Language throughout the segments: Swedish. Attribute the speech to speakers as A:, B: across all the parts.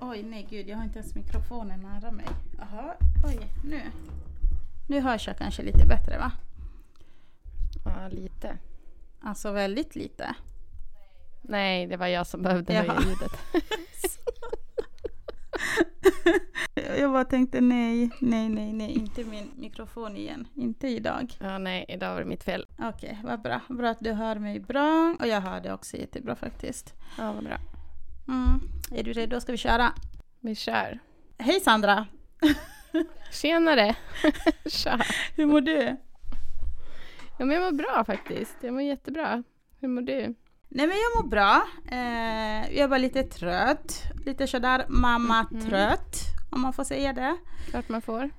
A: Oj, nej gud, jag har inte ens mikrofonen nära mig. Jaha, oj, nu. Nu hörs jag kanske lite bättre va?
B: Ja, lite.
A: Alltså väldigt lite.
B: Nej, det var jag som behövde
A: Jaha.
B: höja ljudet.
A: Jag bara tänkte nej, nej, nej, nej, inte min mikrofon igen. Inte idag.
B: Ja, nej, idag var det mitt fel.
A: Okej, vad bra. Bra att du hör mig bra. Och jag hör dig också jättebra faktiskt.
B: Ja, vad bra.
A: Mm. Är du redo? Ska vi köra?
B: Vi kör.
A: Hej Sandra!
B: Tjenare! Tja!
A: Hur mår du?
B: Ja, men jag mår bra faktiskt. Jag mår jättebra. Hur mår du?
A: Nej men jag mår bra. Eh, jag är bara lite trött. Lite sådär Mm. mamma-trött, om man får säga det.
B: Klart man får.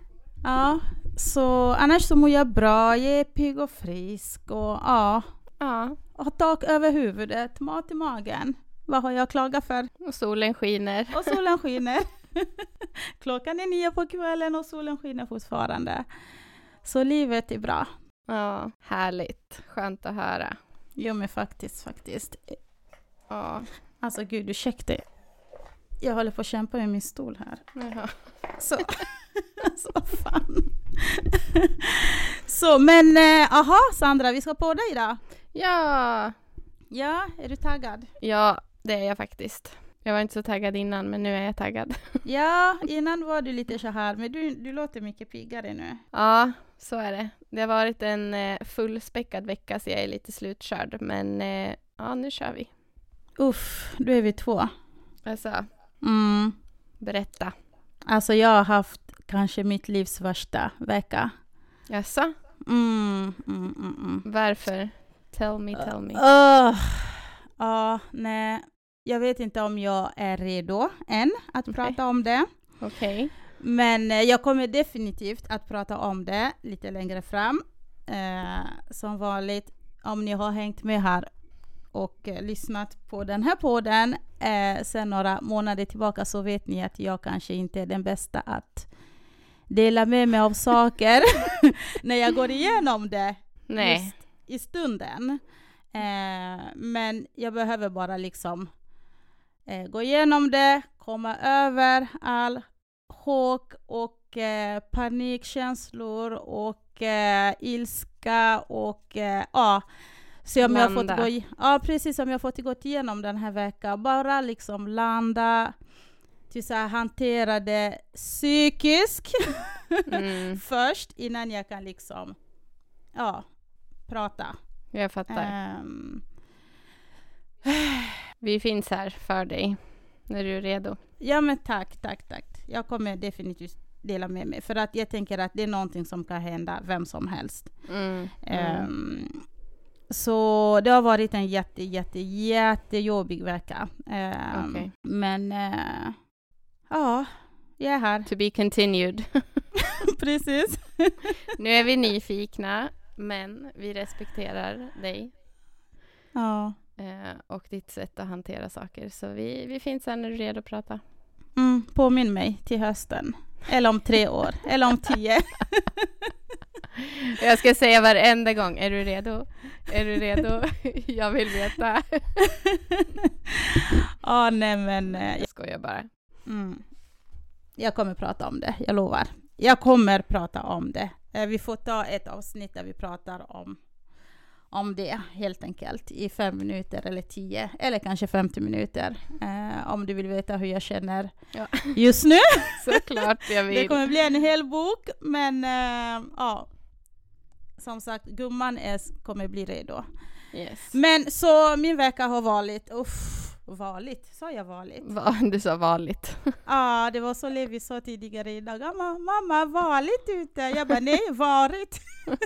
A: Ja, så annars så mår jag bra. Jag är pigg och frisk och ja,
B: Ja,
A: har tak över huvudet, mat i magen. Vad har jag klagat för?
B: och solen skiner.
A: Och solen skiner. Klockan är nio på kvällen och solen skiner fortfarande. Så livet är bra.
B: Ja, härligt. Skönt att höra.
A: Jo men faktiskt, faktiskt.
B: Ja,
A: Alltså gud, ursäkta. Jag håller på att kämpa med min stol här.
B: jaha.
A: Så, så fan. Så, men eh, aha Sandra, vi ska podda idag.
B: Ja!
A: Ja, är du taggad?
B: Ja, det är jag faktiskt. Jag var inte så taggad innan, men nu är jag taggad.
A: Ja, innan var du lite så här, men du, du låter mycket piggare nu.
B: Ja, så är det. Det har varit en eh, fullspäckad vecka, så jag är lite slutkörd. Men eh, ja, nu kör vi.
A: Uff, då är vi två.
B: Alltså,
A: Mm.
B: berätta.
A: Alltså jag har haft kanske mitt livs värsta vecka.
B: Jaså?
A: Mm, mm, mm, mm.
B: Varför? Tell me, tell me.
A: Öh, ja, nej. Jag vet inte om jag är redo än att
B: Nej.
A: prata om det.
B: Okej.
A: Men eh, jag kommer definitivt att prata om det lite längre fram. Eh, som vanligt, om ni har hängt med här och eh, lyssnat på den här podden eh, sen några månader tillbaka så vet ni att jag kanske inte är den bästa att dela med mig av saker när jag går igenom det
B: Nej.
A: just i stunden. Eh, men jag behöver bara liksom eh, gå igenom det, komma över all chock och eh, panikkänslor och eh, ilska och eh, ja. Så om jag har fått
B: Landa.
A: gå, i- ja, precis som jag har fått gå igenom den här veckan, bara liksom landa, typ så här, hantera det psykiskt
B: Mm,
A: först innan jag kan liksom, ja, prata.
B: jag fattar.
A: Ehm,
B: Vi finns här för dig när du är redo.
A: ja men tack, tack, tack. Jag kommer definitivt dela med mig, för att jag tänker att det är någonting som kan hända vem som helst.
B: Mm. Mm.
A: Ehm, så det har varit en jätte, jätte, jättejobbig vecka. Ehm,
B: Okej.
A: Men eh, ja, jag är här.
B: To be continued.
A: Precis.
B: nu är vi nyfikna, men vi respekterar dig
A: Ja.
B: eh, och ditt sätt att hantera saker. Så vi, vi finns här när du är redo att prata.
A: Mm, påminn mig till hösten. Eller om tre år, eller om tio.
B: Jag ska säga varenda gång, är du redo? Är du redo? jag vill veta.
A: Ja, nej men. eh,
B: Jag skojar bara.
A: Mm. Jag kommer prata om det, jag lovar. Jag kommer prata om det. Eh, Vi får ta ett avsnitt där vi pratar om, om det helt enkelt i fem minuter eller tio eller kanske 50 minuter. Eh, om du vill veta hur jag känner
B: Ja.
A: just nu.
B: Såklart jag
A: Det
B: vill.
A: kommer bli en hel bok, men eh, ja. Som sagt, gumman är, kommer bli redo.
B: Yes.
A: Men så min vecka har varit, uff, varit, sa jag varit?
B: Va, du sa vanligt.
A: Ja, det var så Levi sa tidigare idag. Han bara, mamma, varit ute? Jag bara, nej, varit.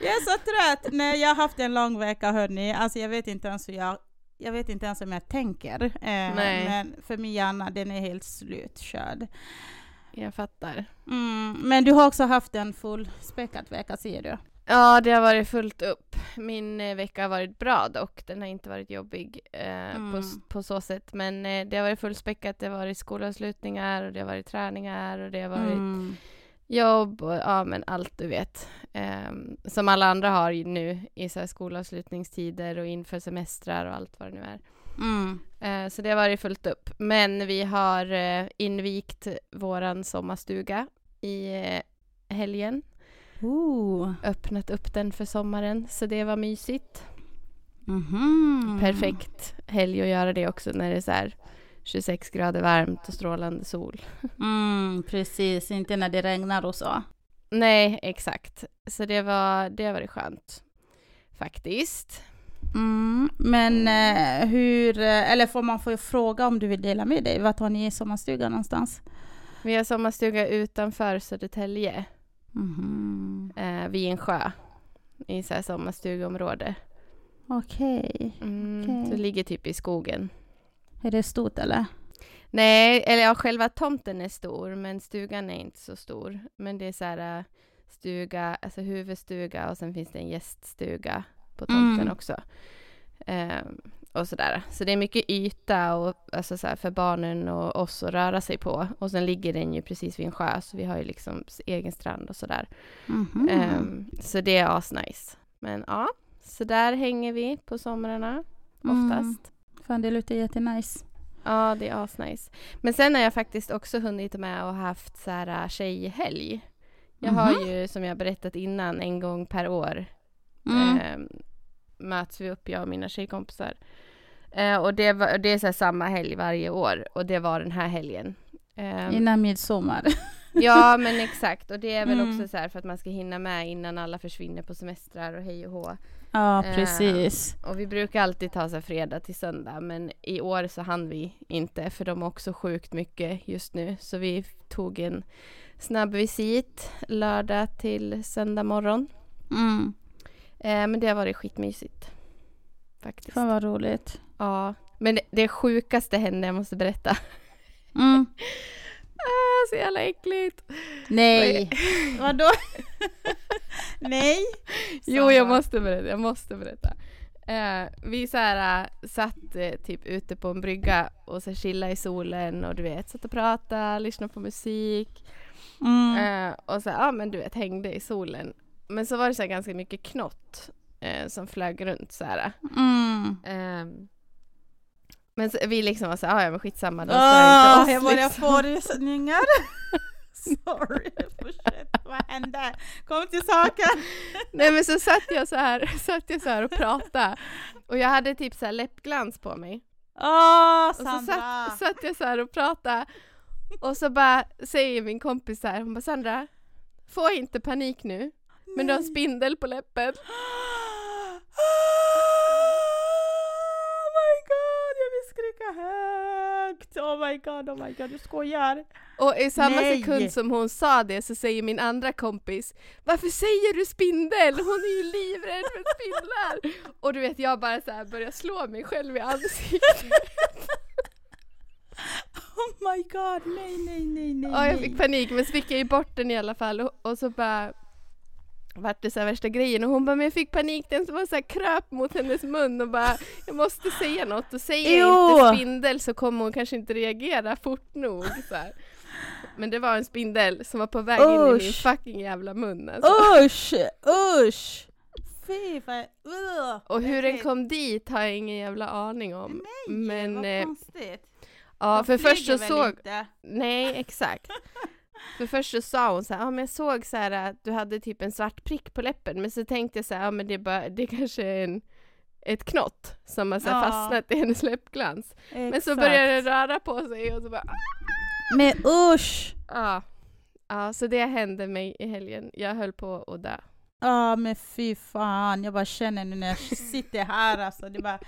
A: jag är så trött. Nej, jag har haft en lång vecka, hörni. Alltså, jag vet inte ens hur jag... Jag vet inte ens om jag tänker. Eh,
B: Nej.
A: Men för min hjärna, den är helt slutkörd.
B: Jag fattar.
A: Mm, men du har också haft en fullspäckad vecka, säger du?
B: Ja, det har varit fullt upp. Min eh, vecka har varit bra dock. Den har inte varit jobbig eh,
A: Mm.
B: på, s- på så sätt. Men eh, det har varit fullspäckat. Det har varit skolavslutningar och det har varit träningar och det har varit
A: Mm.
B: jobb och ja, men allt du vet. Ehm, som alla andra har ju nu i så här skolavslutningstider och inför semestrar och allt vad det nu är.
A: Mm.
B: Eh, Så det har varit fullt upp. Men vi har eh, invigt våran sommarstuga i eh, helgen.
A: Ooh.
B: Öppnat upp den för sommaren, så det var mysigt.
A: Mhm.
B: Perfekt helg att göra det också när det är så här 26 grader varmt och strålande sol.
A: Mm, precis, inte när det regnar och så.
B: Nej, exakt. Så det var det har varit skönt. Faktiskt.
A: Mm, men eh, hur, eh, eller får man få fråga om du vill dela med dig? Vart har ni i sommarstugan någonstans?
B: Vi har sommarstuga utanför Södertälje,
A: Mhm.
B: eh, vid en sjö. I så här sommarstugområde.
A: Okej.
B: Mm,
A: Okej.
B: Så det ligger typ i skogen.
A: Är det stort eller?
B: Nej, eller ja, själva tomten är stor, men stugan är inte så stor. Men det är så här äh, stuga, alltså huvudstuga och sen finns det en gäststuga på tomten
A: Mm.
B: också. Ehm, och sådär. Så det är mycket yta och, alltså så här, för barnen och oss att röra sig på. Och sen ligger den ju precis vid en sjö, så vi har ju liksom s- egen strand och sådär.
A: Mhm.
B: Ehm, så det är asnice. Men ja, så där hänger vi på somrarna
A: Mm.
B: oftast.
A: Fan, det låter jättenice.
B: Ja, det är asnice. Men sen har jag faktiskt också hunnit med och haft så här äh, tjejhelg. Jag har
A: Mhm.
B: ju, som jag berättat innan, en gång per år
A: Mm.
B: eh, möts vi upp, jag och mina tjejkompisar. Eh, och det, var, det är så här samma helg varje år och det var den här helgen. Eh,
A: Innan midsommar.
B: ja, men exakt. Och det är väl
A: Mm.
B: också så här för att man ska hinna med innan alla försvinner på semestrar och hej och hå.
A: ja,
B: Eh,
A: precis.
B: Och vi brukar alltid ta så här fredag till söndag men i år så hann vi inte för de har också sjukt mycket just nu så vi tog en snabb visit lördag till söndag morgon.
A: Mm.
B: Eh, men det har varit skitmysigt. Faktiskt.
A: Fan vad roligt.
B: Ja. Men det, det sjukaste hände, jag måste berätta.
A: Mm.
B: Ah, så jävla äckligt!
A: Nej. Vadå? Nej.
B: Jo, jag måste berätta. Jag måste berätta. Eh, vi så här, eh, satt eh, typ ute på en brygga och så chillade i solen och du vet, satt och pratade, lyssnade på musik
A: Mm.
B: eh, och så här, ja men du vet, hängde i solen. Men så var det så här ganska mycket knott eh, som flög runt så här.
A: Mm.
B: eh. men så, vi liksom var så här, "Ah, ja men skitsamma, de stör
A: Åh,
B: inte
A: Ah, jag
B: oss
A: börjar
B: liksom.
A: få rysningar. Sorry, fortsätt. Vad hände? Kom till saken.
B: Nej men så satt jag så här, satt jag så här och pratade och jag hade typ så här läppglans på mig.
A: Åh,
B: Och så
A: Sandra.
B: satt, satt jag så här och pratade och så bara säger min kompis så här, hon bara Sandra, få inte panik nu, men du har en spindel på läppen. Ah,
A: Oh my god, jag vill skrika högt! Oh my god, oh my god, du skojar!
B: Och i samma
A: Nej.
B: sekund som hon sa det så säger min andra kompis, varför säger du spindel? Hon är ju livrädd för spindlar! Och du vet jag bara så här börjar slå mig själv i ansiktet
A: Oh my god, nej, nej, nej, nej.
B: och Ah, jag
A: nej.
B: fick panik men så fick jag ju bort den i alla fall och, och så bara vart det så här värsta grejen och hon bara men jag fick panik den som var så här kröp mot hennes mun och bara jag måste säga något och säger jag
A: Jo.
B: inte spindel så kommer hon kanske inte reagera fort nog så här. Men det var en spindel som var på väg in i min
A: Usch.
B: fucking jävla mun alltså.
A: Usch, usch! Fy fan, ugh.
B: Och hur den
A: Äckligt.
B: kom dit har jag ingen jävla aning om.
A: Nej,
B: Men,
A: vad
B: eh,
A: konstigt.
B: Ja,
A: De
B: för först
A: flyger
B: så
A: väl
B: såg,
A: inte?
B: Nej, exakt. För först så sa hon så här, ja men jag såg så här att du hade typ en svart prick på läppen, men så tänkte jag så här, ja men det, är bara, det kanske är en, ett knott som har så här
A: Ja.
B: fastnat i hennes läppglans. Men så
A: Exakt.
B: började den röra på sig och så bara, "Ah."
A: Men usch!
B: ja. Ja, så det hände mig i helgen. Jag höll på att dö.
A: Ja men fy fan, jag bara känner nu när jag sitter här alltså, det bara...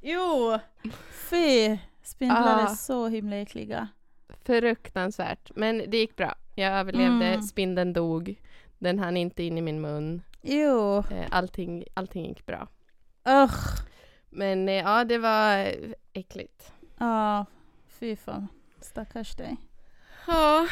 A: Jo! Fy! Spindlar
B: Ja.
A: är så himla äckliga.
B: Fruktansvärt. Men det gick bra. Jag överlevde,
A: Mm.
B: spindeln dog, den hann inte in i min mun.
A: Jo!
B: Eh, Allting, allting gick bra.
A: Usch!
B: Men eh, ja, det var eh, äckligt.
A: Ja, fy fan. Stackars dig.
B: Ja,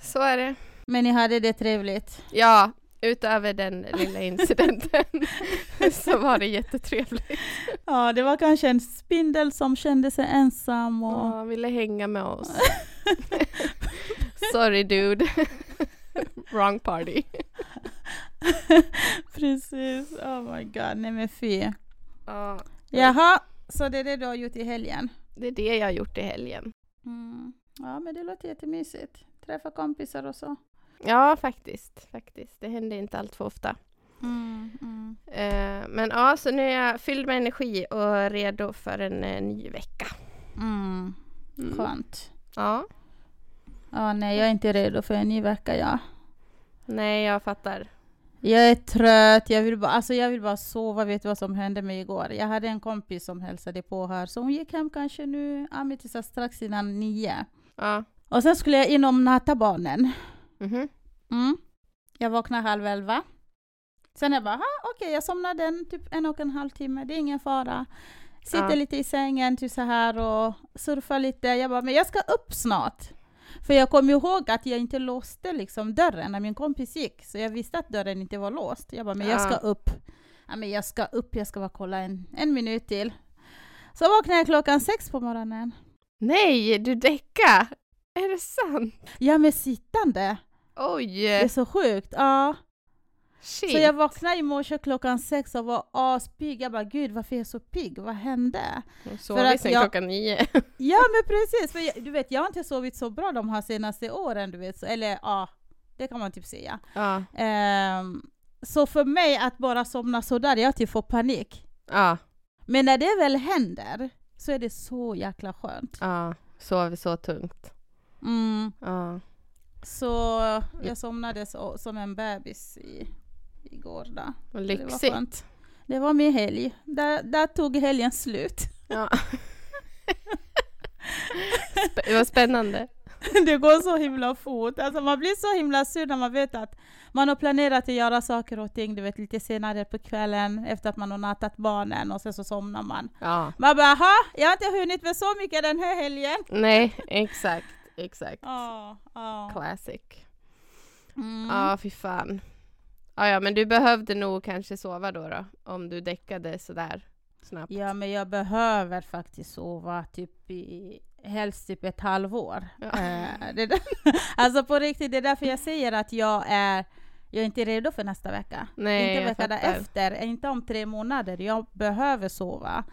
B: så är det.
A: Men ni hade det trevligt?
B: Ja, utöver den lilla incidenten så var det jättetrevligt.
A: Ja, det var kanske en spindel som kände sig ensam och...
B: Ja, ville hänga med oss. Sorry dude. Wrong party.
A: Precis, oh my god, nej men fy.
B: Ja,
A: Jaha, Så det är det du har gjort i helgen?
B: Det är det jag har gjort i helgen.
A: Mm. Ja, men det låter jättemysigt. Träffa kompisar och så.
B: Ja, faktiskt. faktiskt. Det händer inte allt för ofta.
A: Mm, mm.
B: Eh, men ja, så nu är jag fylld med energi och redo för en eh, ny vecka.
A: Mm.
B: Mm.
A: Skönt.
B: Ja.
A: Ja, nej, jag är inte redo för en ny vecka, jag.
B: Nej, jag fattar.
A: Jag är trött, jag vill, bara, alltså jag vill bara sova. Vet du vad som hände mig igår? Jag hade en kompis som hälsade på här, så hon gick hem kanske nu, ja, men tills strax innan nio.
B: Ja.
A: Och sen skulle jag in och natta barnen.
B: Mhm.
A: Mm. Jag vaknade halv elva. Sen jag bara, "Ha, okej, jag somnade en, typ en och en halv timme, det är ingen fara. Sitter
B: Ja.
A: lite i sängen, typ så här och surfar lite. Jag bara, men jag ska upp snart. För jag kom ihåg att jag inte låste liksom dörren när min kompis gick, så jag visste att dörren inte var låst. Jag bara, men jag
B: Ja.
A: ska upp. Ja, men jag ska upp, jag ska bara kolla en, en minut till. Så vaknade jag klockan sex på morgonen.
B: Nej, du däckade! Är det sant?
A: Ja, men sittande.
B: Oj!
A: Det är så sjukt. Ja.
B: Shit!
A: Så jag vaknade i morse klockan sex och var aspigg. Jag bara, gud varför är jag så pigg? Vad hände?
B: Hon
A: för
B: sov
A: att
B: sen
A: jag-
B: klockan nio.
A: Ja men precis, för jag, du vet jag har inte sovit så bra de här senaste åren, du vet. Så, eller ja, det kan man typ säga.
B: Ja.
A: Ehm, så för mig att bara somna sådär, jag typ får panik.
B: Ja.
A: Men när det väl händer så är det så jäkla skönt.
B: Ja. Sov så tungt.
A: Mm.
B: Ja.
A: Så jag somnade så, som en bebis i, igår då.
B: Vad
A: Så det var
B: lyxigt.
A: skönt. Det var min helg. Där, där tog helgen slut.
B: Ja. Sp- det var spännande.
A: det går så himla fort. Alltså man blir så himla sur när man vet att man har planerat att göra saker och ting du vet, lite senare på kvällen efter att man har nattat barnen och sen så somnar man.
B: Ja.
A: Man bara aha, jag har inte hunnit med så mycket den här helgen.
B: Nej, exakt. Exakt.
A: Ja, ja.
B: Classic.
A: Mm.
B: Ja, fy fan. Ja, ja, men du behövde nog kanske sova då, då om du däckade sådär snabbt.
A: ja, men jag behöver faktiskt sova typ i helst typ ett halvår.
B: Ja.
A: Eh, det där, alltså på riktigt, det är därför jag säger att jag är, jag är inte redo för nästa vecka.
B: Nej,
A: inte
B: jag
A: vecka
B: fattar.
A: därefter, inte om tre månader. Jag behöver sova.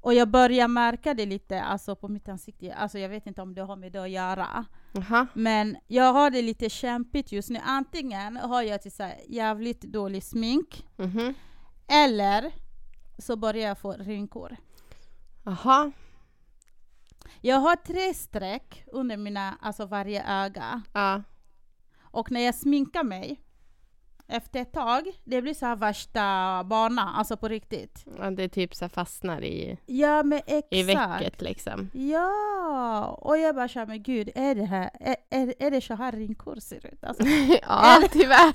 A: Och jag börjar märka det lite alltså på mitt ansikte. Alltså jag vet inte om det har med det att göra.
B: Jaha.
A: Men jag har det lite kämpigt just nu. Antingen har jag till så här jävligt dålig smink,
B: Mhm.
A: eller så börjar jag få rynkor.
B: Jaha.
A: Jag har tre streck under mina, alltså varje öga.
B: Ja.
A: Och när jag sminkar mig, efter ett tag, det blir så här värsta bana, alltså på riktigt.
B: ja, det är typ så här fastnar i,
A: Ja men exakt.
B: i väcket liksom.
A: Ja! Och jag bara känner, men gud, är det här, är, är, är det så här rynkor ser ut? Alltså,
B: ja, tyvärr.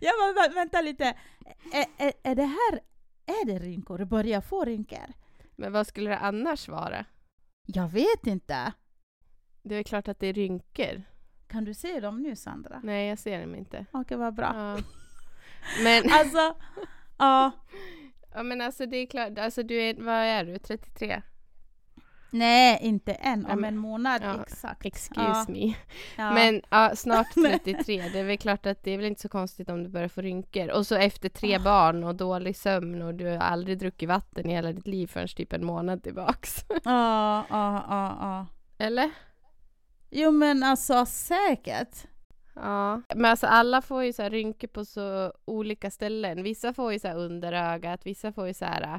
A: jag bara, "Vä- vänta lite, är, är, är det här, är det rynkor? Börjar jag få rynkor?
B: Men vad skulle det annars vara?
A: Jag vet inte.
B: Det är klart att det är rynkor.
A: Kan du se dem nu Sandra?
B: Nej, jag ser dem inte.
A: Okej, vad bra.
B: Ja. Men,
A: Alltså, ja.
B: ja, men alltså det är klart, alltså du är, vad är du, 33?
A: Nej, inte än. Om
B: men-
A: en månad
B: Mm. ja,
A: exakt.
B: Excuse
A: Ja,
B: me.
A: ja.
B: Men ja, snart 33, det är väl klart att det är väl inte så konstigt om du börjar få rynkor. Och så efter tre barn och dålig sömn och du har aldrig druckit vatten i hela ditt liv förrän typ en månad tillbaks.
A: Ja, ja, ja, ja.
B: Eller?
A: Jo men alltså säkert.
B: Ja. Men alltså alla får ju så här rynkor på så olika ställen. Vissa får ju så här under ögat, vissa får ju så här äh,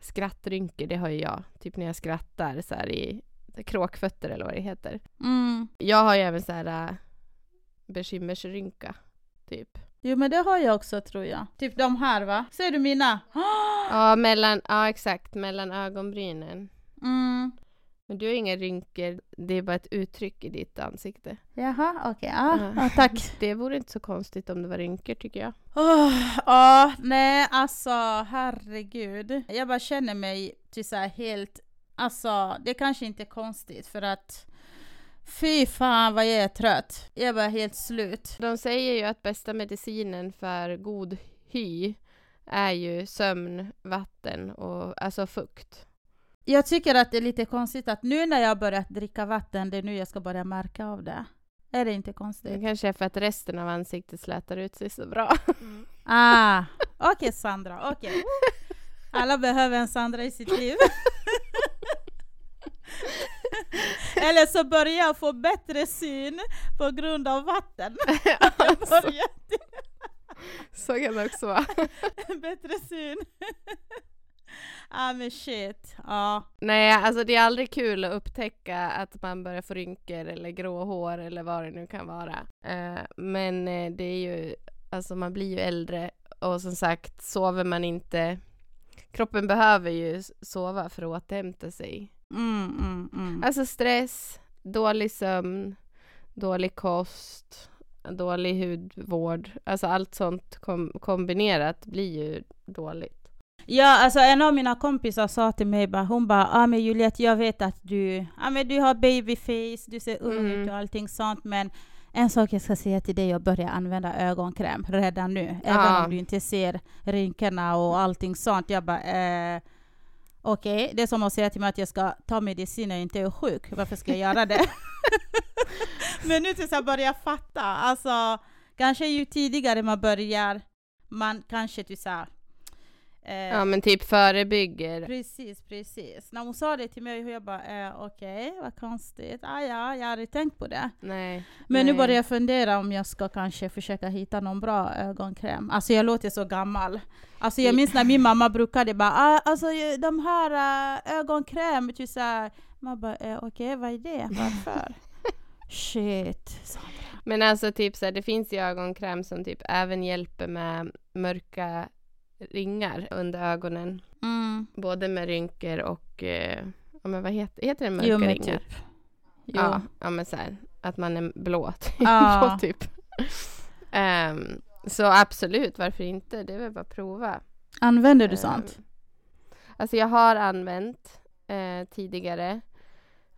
B: skrattrynkor, det har ju jag. Typ när jag skrattar så här i kråkfötter eller vad det heter.
A: Mm.
B: Jag har ju även så här äh, bekymmersrynka, typ.
A: Jo men det har jag också tror jag. Typ de här va? Ser du mina?
B: Ja, mellan, ja exakt, mellan ögonbrynen.
A: Mm.
B: Men du har inga rynkor, det är bara ett uttryck i ditt ansikte.
A: Jaha, okej. Ja,
B: Ja.
A: ja, tack.
B: Det vore inte så konstigt om det var rynkor tycker jag.
A: Åh, Ja, nej alltså herregud. Jag bara känner mig till så här helt, alltså det kanske inte är konstigt för att fy fan vad jag är trött. Jag är bara helt slut.
B: De säger ju att bästa medicinen för god hy är ju sömn, vatten och alltså fukt.
A: Jag tycker att det är lite konstigt att nu när jag har börjat dricka vatten, det är nu jag ska börja märka av det. Är det inte
B: Det
A: konstigt?
B: kanske är för att resten av ansiktet slätar ut sig så bra.
A: Ah, okej Sandra, okej. Alla behöver en Sandra i sitt liv. Eller så börjar jag få bättre syn på grund av vatten. Jag
B: Alltså,
A: börjar
B: så kan det också vara.
A: bättre syn. ah men shit. Ja.
B: Nej, alltså det är aldrig kul att upptäcka att man börjar få rynkor eller grå hår eller vad det nu kan vara. Eh, men eh, det är ju, alltså man blir ju äldre och som sagt sover man inte. Kroppen behöver ju s- sova för att återhämta sig.
A: Mm, mm, mm.
B: Alltså stress, dålig sömn, dålig kost, dålig hudvård. Alltså allt sånt kom- kombinerat blir ju dåligt.
A: Ja, alltså en av mina kompisar sa till mig, bara, hon bara ah, men Juliette, jag vet att du, ah, men du har babyface, du ser ung
B: Mm.
A: ut och allting sånt, men en sak jag ska säga till dig, jag börjar använda ögonkräm redan nu, även
B: Ah.
A: om du inte ser rynkorna och allting sånt. Jag bara, eh, okej, det är som att säga till mig att jag ska ta medicin när jag inte är sjuk, varför ska jag göra det? men nu tills jag börjar fatta, alltså kanske ju tidigare man börjar, man kanske typ såhär, eh,
B: Ja men typ förebygger.
A: Precis, precis. När hon sa det till mig, jag bara eh, okej, vad konstigt. Ah, ja, jag hade tänkt på det.
B: Nej.
A: Men
B: nej.
A: nu börjar jag fundera om jag ska kanske försöka hitta någon bra ögonkräm. Alltså jag låter så gammal. Alltså jag minns när min mamma brukade bara, ah, alltså ju- de här äh, ögonkräm, typ såhär. Man bara, eh, okej vad är det? Varför? Shit. Så-
B: Men alltså typ så här, det finns ju ögonkräm som typ även hjälper med mörka ringar under ögonen.
A: Mm.
B: Både med rynkor och, eh, ja men vad heter, heter det mörka
A: Jo men
B: ringar?
A: typ. Jo.
B: Ja, ja men så här, att man är blå, typ.
A: Ja.
B: blå typ. Ehm, så absolut, varför inte? Det är väl bara att prova.
A: Använder du
B: Ehm,
A: sånt?
B: Alltså jag har använt eh, tidigare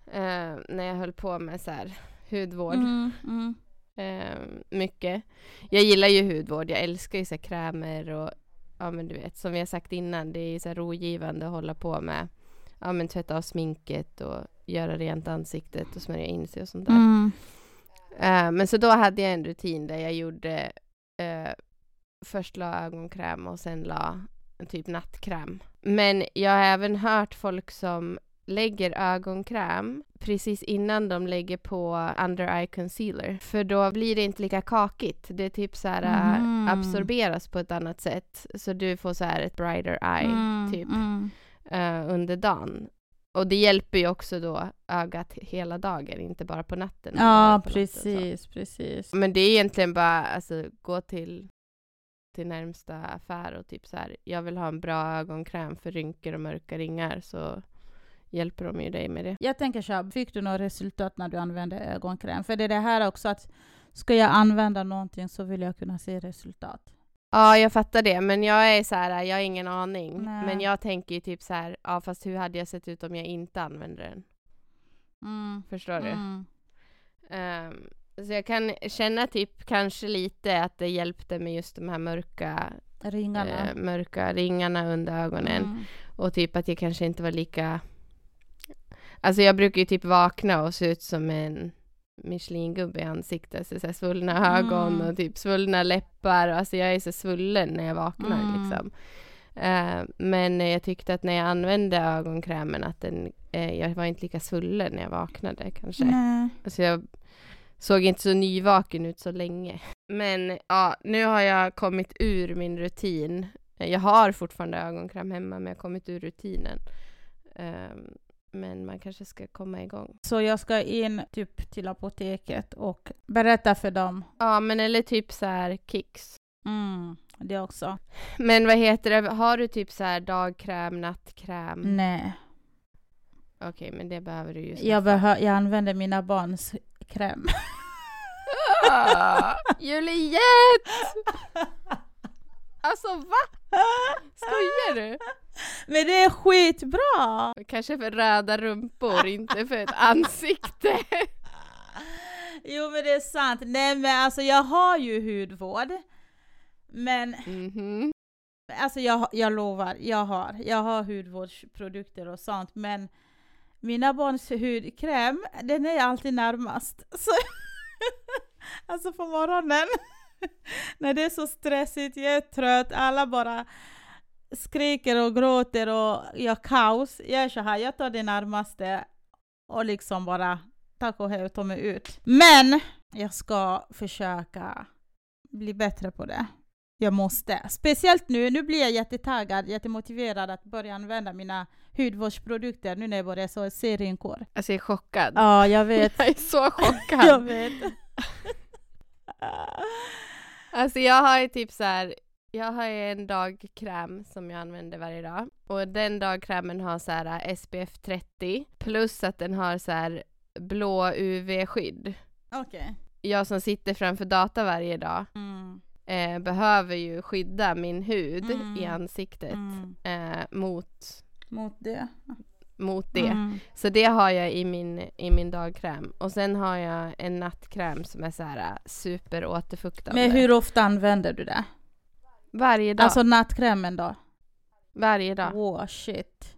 B: eh, när jag höll på med så här hudvård.
A: Mm, mm.
B: eh, mycket. Jag gillar ju hudvård, jag älskar ju så här krämer och ja men du vet som vi har sagt innan, det är ju så här rogivande att hålla på med ja men tvätta av sminket och göra rent ansiktet och smörja in sig och sånt där.
A: Mm.
B: Eh, men så då hade jag en rutin där jag gjorde eh, först la ögonkräm och sen la typ nattkräm. Men jag har även hört folk som lägger ögonkräm precis innan de lägger på under eye concealer. För då blir det inte lika kakigt. Det typ så här eh,
A: Mhm.
B: absorberas på ett annat sätt. Så du får så här ett brighter eye
A: Mm,
B: typ
A: mm.
B: eh, under dagen. Och det hjälper ju också då ögat hela dagen, inte bara på natten. utan
A: Ja,
B: på natten så.
A: precis, precis.
B: Men det är egentligen bara alltså, gå till, till närmsta affär och typ så här, jag vill ha en bra ögonkräm för rynkor och mörka ringar så hjälper de ju dig med det.
A: Jag tänker så här, fick du något resultat när du använde ögonkräm? För det är det här också att ska jag använda någonting så vill jag kunna se resultat.
B: Ja, jag fattar det, men jag är så här, jag har ingen aning.
A: Nej.
B: Men jag tänker ju typ så här, ja fast hur hade jag sett ut om jag inte använde den?
A: Mm.
B: Förstår du?
A: Mm.
B: Ehm, så jag kan känna typ kanske lite att det hjälpte med just de här mörka,
A: Ringarna.
B: eh, mörka ringarna under ögonen.
A: Mm.
B: Och typ att jag kanske inte var lika... Alltså jag brukar ju typ vakna och se ut som en Michelin-gubbe i ansiktet. Så så här svullna ögon
A: Mm.
B: och typ svullna läppar. Alltså jag är så svullen när jag vaknar
A: Mm.
B: liksom. Eh, men jag tyckte att när jag använde ögonkrämen att den, eh, jag var inte lika svullen när jag vaknade kanske.
A: Nej.
B: Alltså jag såg inte så nyvaken ut så länge. Men ja, nu har jag kommit ur min rutin. Jag har fortfarande ögonkräm hemma, men jag har kommit ur rutinen. Ehm, men man kanske ska komma igång.
A: Så jag ska in typ till apoteket och berätta för dem.
B: Ja, men eller typ så här kicks.
A: Mm. Det också.
B: Men vad heter det, har du typ så här dagkräm, nattkräm?
A: Nej.
B: Okej, men Mm. det behöver du ju.
A: Jag, behö- jag använder mina barns kräm.
B: Ah, Juliette! Alltså va? Skojar du?
A: Men det är skitbra!
B: Kanske för röda rumpor, inte för ett ansikte.
A: Jo men det är sant. Nej men alltså jag har ju hudvård. Men
B: Mhm.
A: Alltså jag, jag lovar, jag har. Jag har hudvårdsprodukter och sånt men mina barns hudkräm, den är alltid närmast. Så alltså på morgonen, när det är så stressigt, jag är trött, alla bara skriker och gråter och gör kaos. Jag är så här, jag tar det närmaste och liksom bara tack och hej och tar mig ut. Men jag ska försöka bli bättre på det. Jag måste. Speciellt nu, nu blir jag jättetaggad, jättemotiverad att börja använda mina hudvårdsprodukter nu när jag börjar så serinkår.
B: Alltså jag är chockad.
A: Ja, jag vet.
B: Jag är så
A: jag
B: chockad.
A: vet.
B: Alltså jag har ju typ så här. Jag har ju en dagkräm som jag använder varje dag. Och den dagkrämen har så här äh, SPF 30 plus att den har så här blå UV-skydd.
A: Okej.
B: Jag som sitter framför data varje dag
A: Mm.
B: eh, behöver ju skydda min hud
A: Mm.
B: i ansiktet
A: Mm.
B: eh, mot,
A: Mot det.
B: mot det.
A: Mm.
B: Så det har jag i min, i min dagkräm. Och sen har jag en nattkräm som är så här äh, superåterfuktande.
A: Men hur ofta använder du det?
B: Varje dag.
A: Alltså nattkrämen då?
B: varje dag.
A: Wow, shit.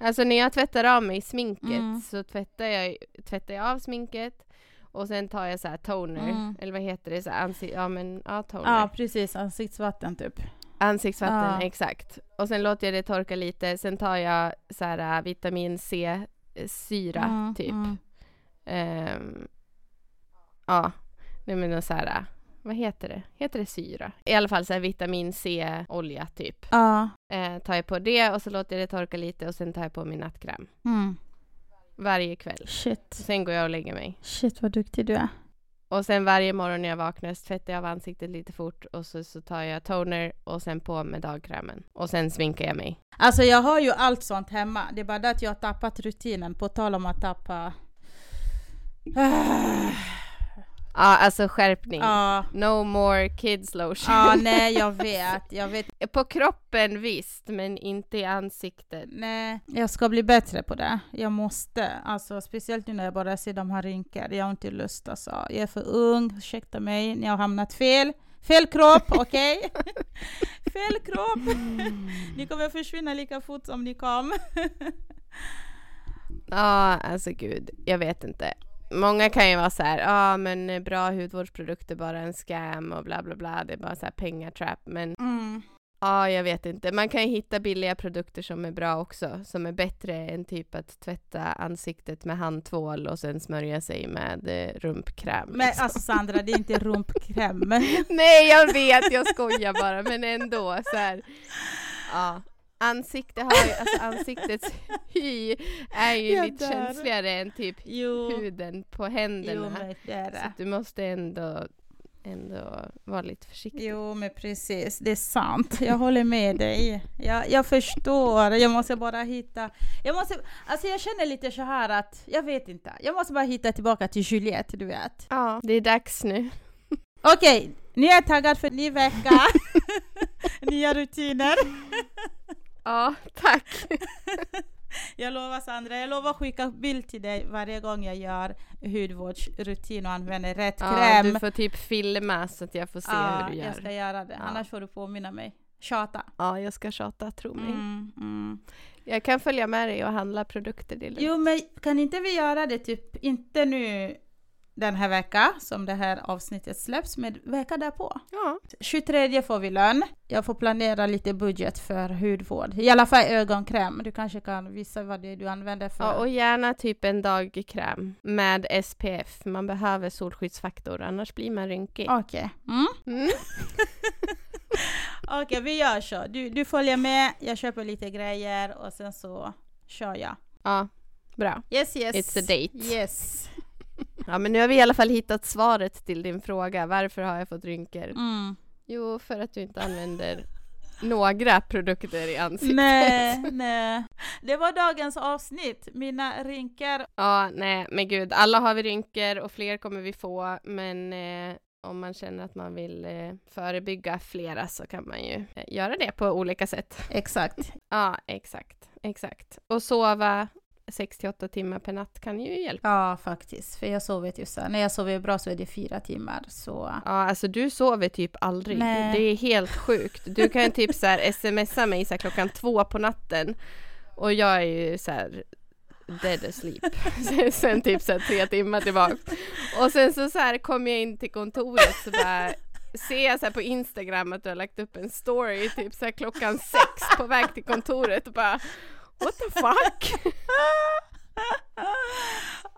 B: Alltså när jag tvättar av mig sminket
A: Mm.
B: så tvättar jag, tvättar jag av sminket och sen tar jag så här toner,
A: Mm.
B: eller vad heter det? Så här ansi- ja men ja, toner.
A: Ja, precis. Ansiktsvatten typ.
B: Ansiktsvatten,
A: Ja.
B: exakt. Och sen låter jag det torka lite, sen tar jag så här äh, vitamin C-syra
A: Mm,
B: typ.
A: mm.
B: Ehm, ja, nej men så här, äh, vad heter det? Heter det syra? I alla fall så här vitamin C-olja typ.
A: Ja.
B: Eh, tar jag på det och så låter jag det torka lite och sen tar jag på min nattkräm.
A: Mm.
B: Varje kväll.
A: Shit.
B: Sen går jag och lägger mig.
A: Shit vad duktig du är.
B: Och sen varje morgon när jag vaknar så tvättar jag av ansiktet lite fort och så, så tar jag toner och sen på med dagkrämen. Och sen sminkar jag mig.
A: Alltså jag har ju allt sånt hemma. Det är bara det att jag har tappat rutinen. På tal om att tappa... Ah.
B: Ja, alltså skärpning.
A: Ja,
B: No more kids lotion.
A: ja, nej jag vet. Jag vet.
B: På kroppen visst, men inte i ansiktet.
A: Nej, jag ska bli bättre på det. Jag måste. Alltså speciellt nu när jag bara ser de här rynkor. Jag har inte lust alltså. Jag är för ung, ursäkta mig. Ni har hamnat fel. Fel kropp, okej? fel kropp.
B: Mm.
A: ni kommer försvinna lika fort som ni kom.
B: Ja, alltså gud, jag vet inte. Många kan ju vara så här, ja men bra hudvårdsprodukter bara en scam och bla bla bla, det är bara så här pengatrap. Men ja,
A: Mm.
B: jag vet inte. Man kan ju hitta billiga produkter som är bra också, som är bättre än typ att tvätta ansiktet med handtvål och sen smörja sig med eh, rumpkräm.
A: Men
B: liksom.
A: alltså Sandra, det är inte rumpkräm.
B: Nej, jag vet, jag skojar bara, men ändå så här. Ja. Ansikte har ju, alltså ansiktets hy är ju
A: Jag
B: lite
A: dör.
B: känsligare än typ
A: Jo,
B: huden på
A: jo
B: händerna.
A: men det är
B: så
A: det.
B: att du måste ändå, ändå vara lite försiktig.
A: Jo, men precis. Det är sant. Jag håller med dig. Jag, jag förstår. Jag måste bara hitta... Jag, måste, alltså jag känner lite så här att, jag vet inte. Jag måste bara hitta tillbaka till Juliette, du vet.
B: Ja, det är dags nu.
A: Okej, ni är taggad för ny vecka. Nya rutiner.
B: Ja, tack.
A: Jag lovar Sandra, jag lovar att skicka bild till dig varje gång jag gör hudvårdsrutin och använder rätt
B: Ja,
A: kräm.
B: du får typ filma så att jag får se
A: Ja,
B: hur du gör.
A: jag ska göra det.
B: Ja.
A: Annars får du påminna mig. Tjata.
B: Ja, jag ska tjata, tro mig.
A: Mm, mm.
B: Jag kan följa med dig och handla produkter. Det är lugnt.
A: Jo, men kan inte vi göra det typ, inte nu den här veckan som det här avsnittet släpps, men veckan därpå?
B: Ja.
A: 23 får vi lön. Jag får planera lite budget för hudvård. I alla fall ögonkräm. Du kanske kan visa vad det är du använder för.
B: Ja, och gärna typ en dagkräm med SPF. Man behöver solskyddsfaktor, annars blir man rynkig.
A: Okej. Mm.
B: Mm.
A: Okej, vi gör så. Du, du följer med, jag köper lite grejer och sen så kör jag.
B: Ja, bra.
A: Yes, yes.
B: It's a date.
A: Yes.
B: Ja, men nu har vi i alla fall hittat svaret till din fråga. Varför har jag fått rynkor?
A: Mm.
B: Jo, för att du inte använder några produkter i
A: Mm.
B: ansiktet.
A: Nej, nej. Det var dagens avsnitt. Mina rynkor.
B: Ja, nej, men gud, alla har vi rynkor och fler kommer vi få, men eh, om man känner att man vill eh, förebygga flera så kan man ju eh, göra det på olika sätt.
A: Exakt.
B: Ja, exakt, exakt. Och sova 6 till 8 timmar per natt kan ju hjälpa.
A: Ja, faktiskt. För jag sover ju så. När jag sover bra så är det fyra timmar. Så.
B: Ja, alltså du sover typ aldrig.
A: Nej.
B: Det är helt sjukt. Du kan ju typ så här smsa mig så här klockan två på natten och jag är ju så här dead asleep. Sen- sen typ så här tre timmar tillbaka. Och sen så, så här kom jag in till kontoret så bara ser jag så här på Instagram att du har lagt upp en story typ så här klockan sex på väg till kontoret och bara What the fuck?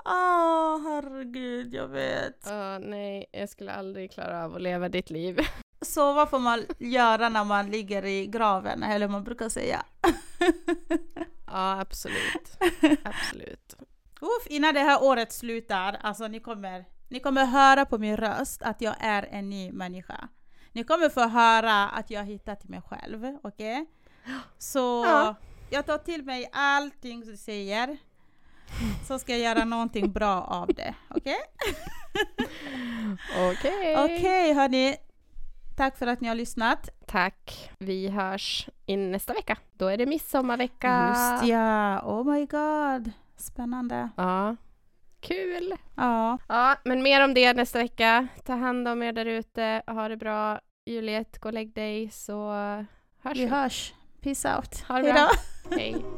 A: Åh, herregud, jag vet.
B: Ja, nej, jag skulle aldrig klara av att leva ditt liv.
A: Så vad får man göra när man ligger i graven, eller man brukar säga?
B: Ja, absolut. Absolut.
A: Uff, innan det här året slutar, alltså ni kommer, ni kommer höra på min röst att jag är en ny människa. Ni kommer få höra att jag har hittat mig själv, okej? Så
B: Ja.
A: jag tar till mig allting du säger, så ska jag göra någonting bra av det, okej?
B: Okej.
A: Okej hörni, tack för att ni har lyssnat.
B: Tack. Vi hörs in nästa vecka. Då är det midsommarvecka.
A: Just ja, oh my god, spännande.
B: Ja. Kul.
A: Ja,
B: Ja, men mer om det nästa vecka. Ta hand om er där ute. Ha det bra. Juliet, gå och lägg dig så hörs
A: vi hörs. Peace out.
B: Ha det
A: Hejdå.
B: bra. Hej.